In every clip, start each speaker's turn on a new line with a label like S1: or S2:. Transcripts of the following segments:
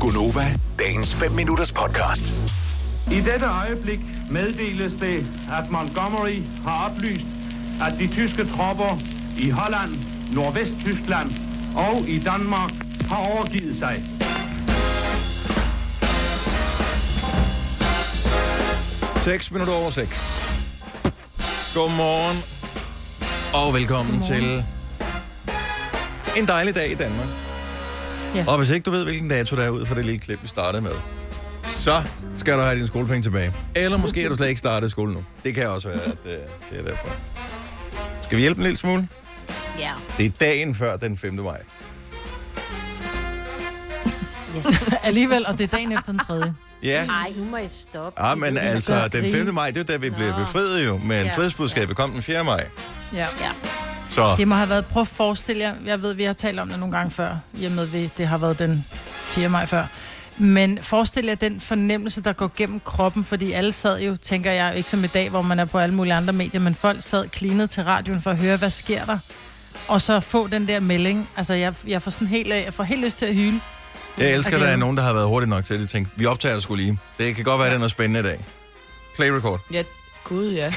S1: Gunova, dagens 5 minutters podcast.
S2: I dette øjeblik meddeles det, at Montgomery har oplyst, at de tyske tropper i Holland, Nordvesttyskland og i Danmark har overgivet sig.
S3: Seks minutter over 6. Godmorgen og velkommen Godmorgen. til en dejlig dag i Danmark. Ja.
S4: Ja.
S3: Og hvis ikke du ved, hvilken dato der er ud for det lille klip, vi startede med, så skal du have dine skolepenge tilbage. Eller måske er du slet ikke startet i skole nu. Det kan også være, at øh, det er derfor. Skal vi hjælpe en lille smule?
S4: Ja.
S3: Det er dagen før den 5. maj.
S4: Yes. Alligevel, og det er dagen efter den tredje.
S3: Ja.
S5: Nej, nu må I stoppe.
S4: Ah,
S3: Ja, men altså,
S4: godt
S3: den
S4: grine.
S3: 5. maj, det er da vi blev
S5: Nå.
S3: befriet jo, men
S5: Ja.
S3: fredsbudskabet kom den 4. maj.
S4: Ja.
S5: Ja.
S3: Så
S4: Det må have været, prøv at forestille jer, jeg ved, vi har talt om det nogle gange før, i og med, vi, det har været den 4. maj før. Men forestil jer den fornemmelse, der går gennem kroppen, fordi alle sad jo, tænker jeg, ikke som i dag, hvor man er på alle mulige andre medier, men folk sad klinet til radioen for at høre, hvad sker der? Og så få den der melding. Altså, jeg, jeg får sådan helt, af- jeg får helt lyst til at hyle.
S3: Jeg elsker, at
S4: Okay.
S3: der er nogen, der har været hurtigt nok til at de tænker, vi optager det skulle lige. Det kan godt være, det er noget spændende i dag. Play record.
S6: Ja, gud ja.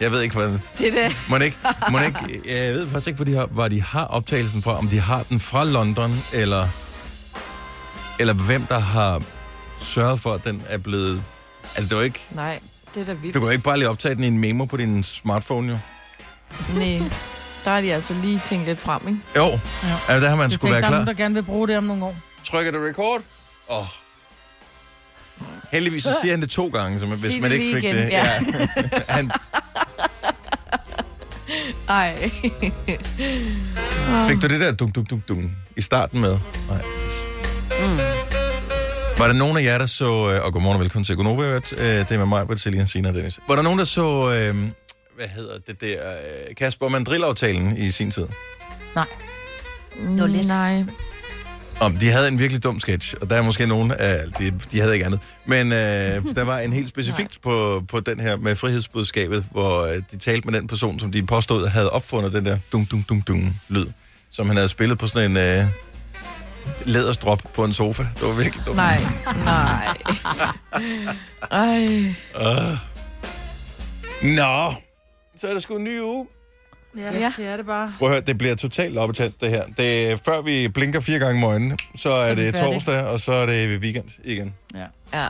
S3: Jeg ved ikke, hvordan...
S6: Det der.
S3: Må ikke, må ikke, jeg ved faktisk ikke, hvor de har, hvor de har optagelsen fra. Om de har den fra London, eller, eller hvem, der har sørget for, at den er blevet... Altså, det var ikke,
S6: Nej, det er da vildt.
S3: du kan jo ikke bare lige optage den i en memo på din smartphone, jo.
S6: Nej, der har de altså lige tænkt lidt frem, ikke?
S3: Jo, altså, der har man skulle
S4: Jeg tænker,
S3: være
S4: der er
S3: klar.
S4: nogen, der gerne vil bruge det om nogle år.
S3: Trykker det record? Åh. Oh. Heldigvis så siger han det to gange, så man,
S6: Sig
S3: hvis
S6: det
S3: man ikke
S6: lige
S3: fik
S6: igen,
S3: det.
S6: ja.
S3: han,
S6: Ej.
S3: Fik du det der dunk, dunk, dunk, dunk i starten med? Nej.
S6: Mm.
S3: Var der nogen af jer, der så... øh, Og godmorgen og velkommen til Gunova. øh, Det er med mig, Britt, Selina, Sina og Dennis. Var der nogen, der så... Øh, hvad hedder det der... øh, Kasper Mandrill-aftalen i sin tid?
S4: Nej.
S5: Nå, lidt.
S6: Nej.
S3: Om de havde en virkelig dum sketch, og der er måske nogen af... De, de havde ikke andet. Men øh, der var en helt specifikt på, på den her med frihedsbudskabet, hvor øh, de talte med den person, som de påstod havde opfundet den der dunk, dunk, dunk, dunk lyd, som han havde spillet på sådan en... Øh, læderstrop på en sofa. Det var virkelig dumt.
S6: Nej. Nej. Ej.
S3: Nå, så er der sgu en ny uge.
S4: Ja, det er det bare.
S3: Prøv at høre, det bliver totalt opetalt, det her. Det er, før vi blinker fire gange om øjnene, så er
S4: vi
S3: det
S4: færdige.
S3: torsdag, og så er det weekend igen.
S4: Ja.
S6: Ja.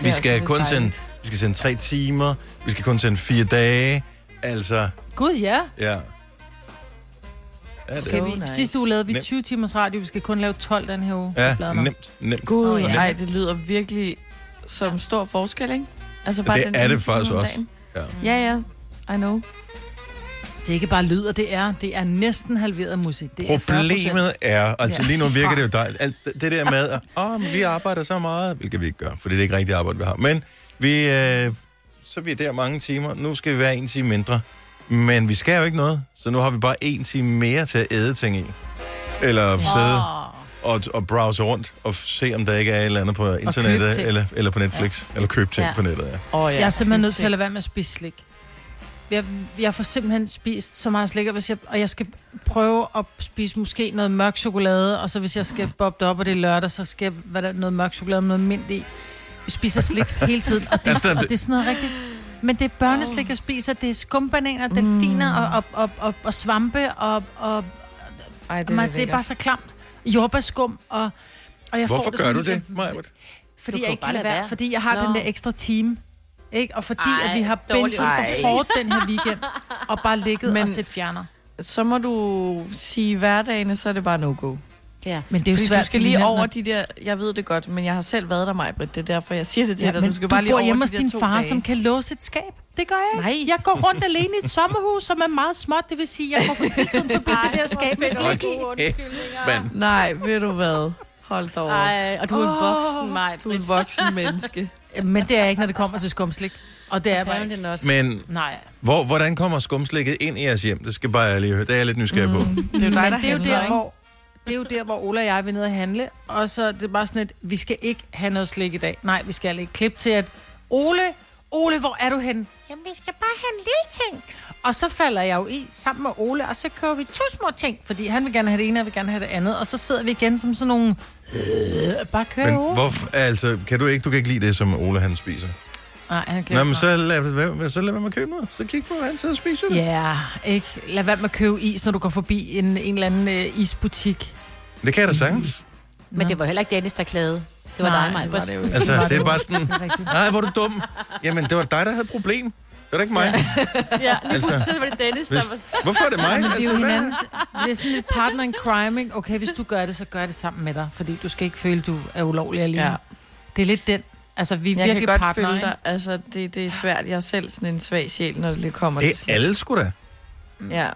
S3: Vi skal kun sende, vi skal sende tre timer, vi skal kun sende fire dage. Altså,
S4: Gud, ja.
S3: ja. Ja, det
S4: Skal
S3: er
S4: vi,
S6: nice.
S4: nice. Sidste uge lavede vi
S3: Nemt.
S4: 20 timers radio. Vi skal kun lave 12 den her uge. Det
S3: ja,
S4: bladrer.
S3: nemt, nemt.
S6: Gud,
S4: Åh, ja.
S6: ej, det lyder virkelig som stor forskel, ikke? Altså bare
S3: Det
S6: den
S3: er
S6: ene
S3: det faktisk
S6: time om
S3: også.
S6: dagen.
S3: Ja.
S6: Ja, ja. I know.
S4: Det er ikke bare lyd, og det er, det er næsten halveret musik. Det er 40%.
S3: Problemet er, altså
S4: Ja.
S3: lige nu virker det jo dejligt, alt det det der med, at oh, men vi arbejder så meget, hvilket vi ikke gør, for det er ikke rigtigt arbejde, vi har. Men vi, øh, så er vi der mange timer, nu skal vi være en time mindre. Men vi skal jo ikke noget, så nu har vi bare en time mere til at æde ting i. Eller sidde og, og browse rundt og f- se, om der ikke er et eller andet på internettet,
S4: ting.
S3: eller, eller på Netflix, ja. eller købe ting ja.
S5: Ja.
S3: på nettet. Ja.
S6: Åh, oh, ja.
S4: Jeg er simpelthen nødt til at lade være med at spise slik. Jeg, jeg får simpelthen spist så meget slik, og, hvis jeg, og jeg skal prøve at spise måske noget mørk chokolade, og så hvis jeg skal bobbe det op, og det er lørdag, så skal jeg hvad der, noget mørk chokolade med noget mint i. Vi spiser slik hele tiden, og det,
S3: Altså,
S4: og
S3: det-
S4: det er sådan noget rigtigt... Men det er børneslik, jeg spiser, det er skumbananer, delfiner og, og, og, og, og svampe og, og
S6: Ej, det
S4: Det,
S6: er,
S4: det er bare så klamt. Jordbærskum og... og jeg får
S3: Hvorfor
S4: det
S3: gør
S4: sådan,
S3: du det,
S4: jeg-
S3: Majbert?
S4: Fordi
S5: Du kan
S4: jeg
S5: jo
S4: ikke
S5: bare
S4: kan lade
S5: lade
S4: være.
S5: være.
S4: Fordi jeg har
S5: Nå.
S4: den der ekstra time. Ikke? Og fordi Ej,
S5: Ej,
S4: at vi har
S5: dårlig
S4: bindet så
S6: idé.
S4: hårdt den her weekend, og bare ligget Men,
S6: Men-
S4: og set fjerner.
S6: Så må du sige hverdagene, så er det bare no-go.
S5: ja.
S4: Men det er jo
S6: Fordi
S4: svært
S6: du skal lige over de der... Jeg ved det godt, men jeg har selv været der, mig, Britt. Det er derfor, jeg siger det til
S4: Ja,
S6: dig.
S4: men
S6: Du skal bare lige
S4: bor
S6: over
S4: hjemme
S6: de
S4: hos
S6: der
S4: din
S6: to
S4: far,
S6: dage.
S4: som kan låse et skab. Det gør jeg ikke.
S6: Nej.
S4: Jeg går rundt alene i et sommerhus, som er meget småt. Det vil sige, jeg går hele tiden forbi det der skab med slik i.
S3: Men
S6: Nej, ved du hvad? Hold da over.
S5: Ej, og du er en voksen, mig.
S6: Du er en voksen menneske.
S4: Men det er jeg ikke, når det kommer til skumslik. Og det er jeg bare ikke.
S3: men
S4: Nej.
S3: hvor, hvordan kommer skumslækket ind i jeres hjem? Det skal bare jeg lige høre. Det er jeg lidt nysgerrig
S4: Mm.
S3: på.
S6: Det er jo dig, der
S4: Men det er jo
S6: handler,
S4: der,
S6: ikke?
S4: hvor, det er jo der, hvor Ola og jeg vil ned og handle, og så er det bare sådan et, vi skal ikke have noget slik i dag. Nej, vi skal ikke. Klip til, at Ole, Ole, hvor er du henne?
S7: Jamen, vi skal bare have en lille ting.
S4: Og så falder jeg jo i sammen med Ole, og så kører vi to små ting, fordi han vil gerne have det ene, og jeg vil gerne have det andet. Og så sidder vi igen som sådan nogle... Øh, bare kører
S3: Men
S4: over.
S3: hvorfor, altså, kan du ikke, du kan ikke lide det, som Ole han spiser?
S4: Nej, han glemmer
S3: Nå, men så lad, hvad- så lad være med at købe noget. Så kig på, hvad han sidder og spiser det.
S4: Ja, ikke? Lad være med at købe is, når du går forbi en, en eller anden øh, isbutik.
S3: Det kan jeg da sagtens.
S5: Men det var heller ikke Dennis, der klagede. Det var
S4: Nej,
S5: dig, Maja.
S4: det var det jo ikke.
S3: Altså, det er
S4: du.
S3: bare sådan,
S4: Det er rigtigt.
S3: nej, hvor er du dum. Jamen, det var dig, der havde et problem. Det var da ikke mig.
S5: Ja,
S3: Altså,
S5: så var det Dennis, der
S3: hvis,
S5: var...
S3: hvorfor er det mig?
S4: Men det er
S3: Altså,
S4: jo
S3: hvad?
S4: hinandens, det er sådan et partner in crime, ikke? Okay, hvis du gør det, så gør jeg det sammen med dig, fordi du skal ikke føle, du er ulovlig alene. Ja.
S6: Ja.
S4: Det er lidt den. Altså, vi er
S6: Jeg
S4: virkelig
S6: kan godt
S4: partner,
S6: følge
S4: ikke?
S6: dig. Altså, det, det er svært. Jeg er selv sådan en svag sjæl, når det lige kommer
S3: Det
S6: til
S3: er
S6: sådan-
S3: alle sgu da.
S6: Ja.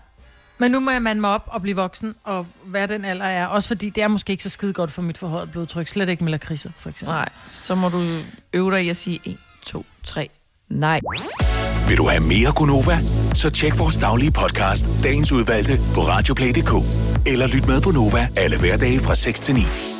S4: Men nu må jeg mande mig op og blive voksen, og hvad den alder er. Også fordi det er måske ikke så skide godt for mit forhøjet blodtryk. Slet ikke med lakridser, for eksempel.
S6: Nej, så må du øve dig i at sige 1, 2, 3. Nej.
S1: Vil du have mere Gunova? Så tjek vores daglige podcast, dagens udvalgte, på radioplay.dk. Eller lyt med på Nova alle hverdage fra 6 til 9.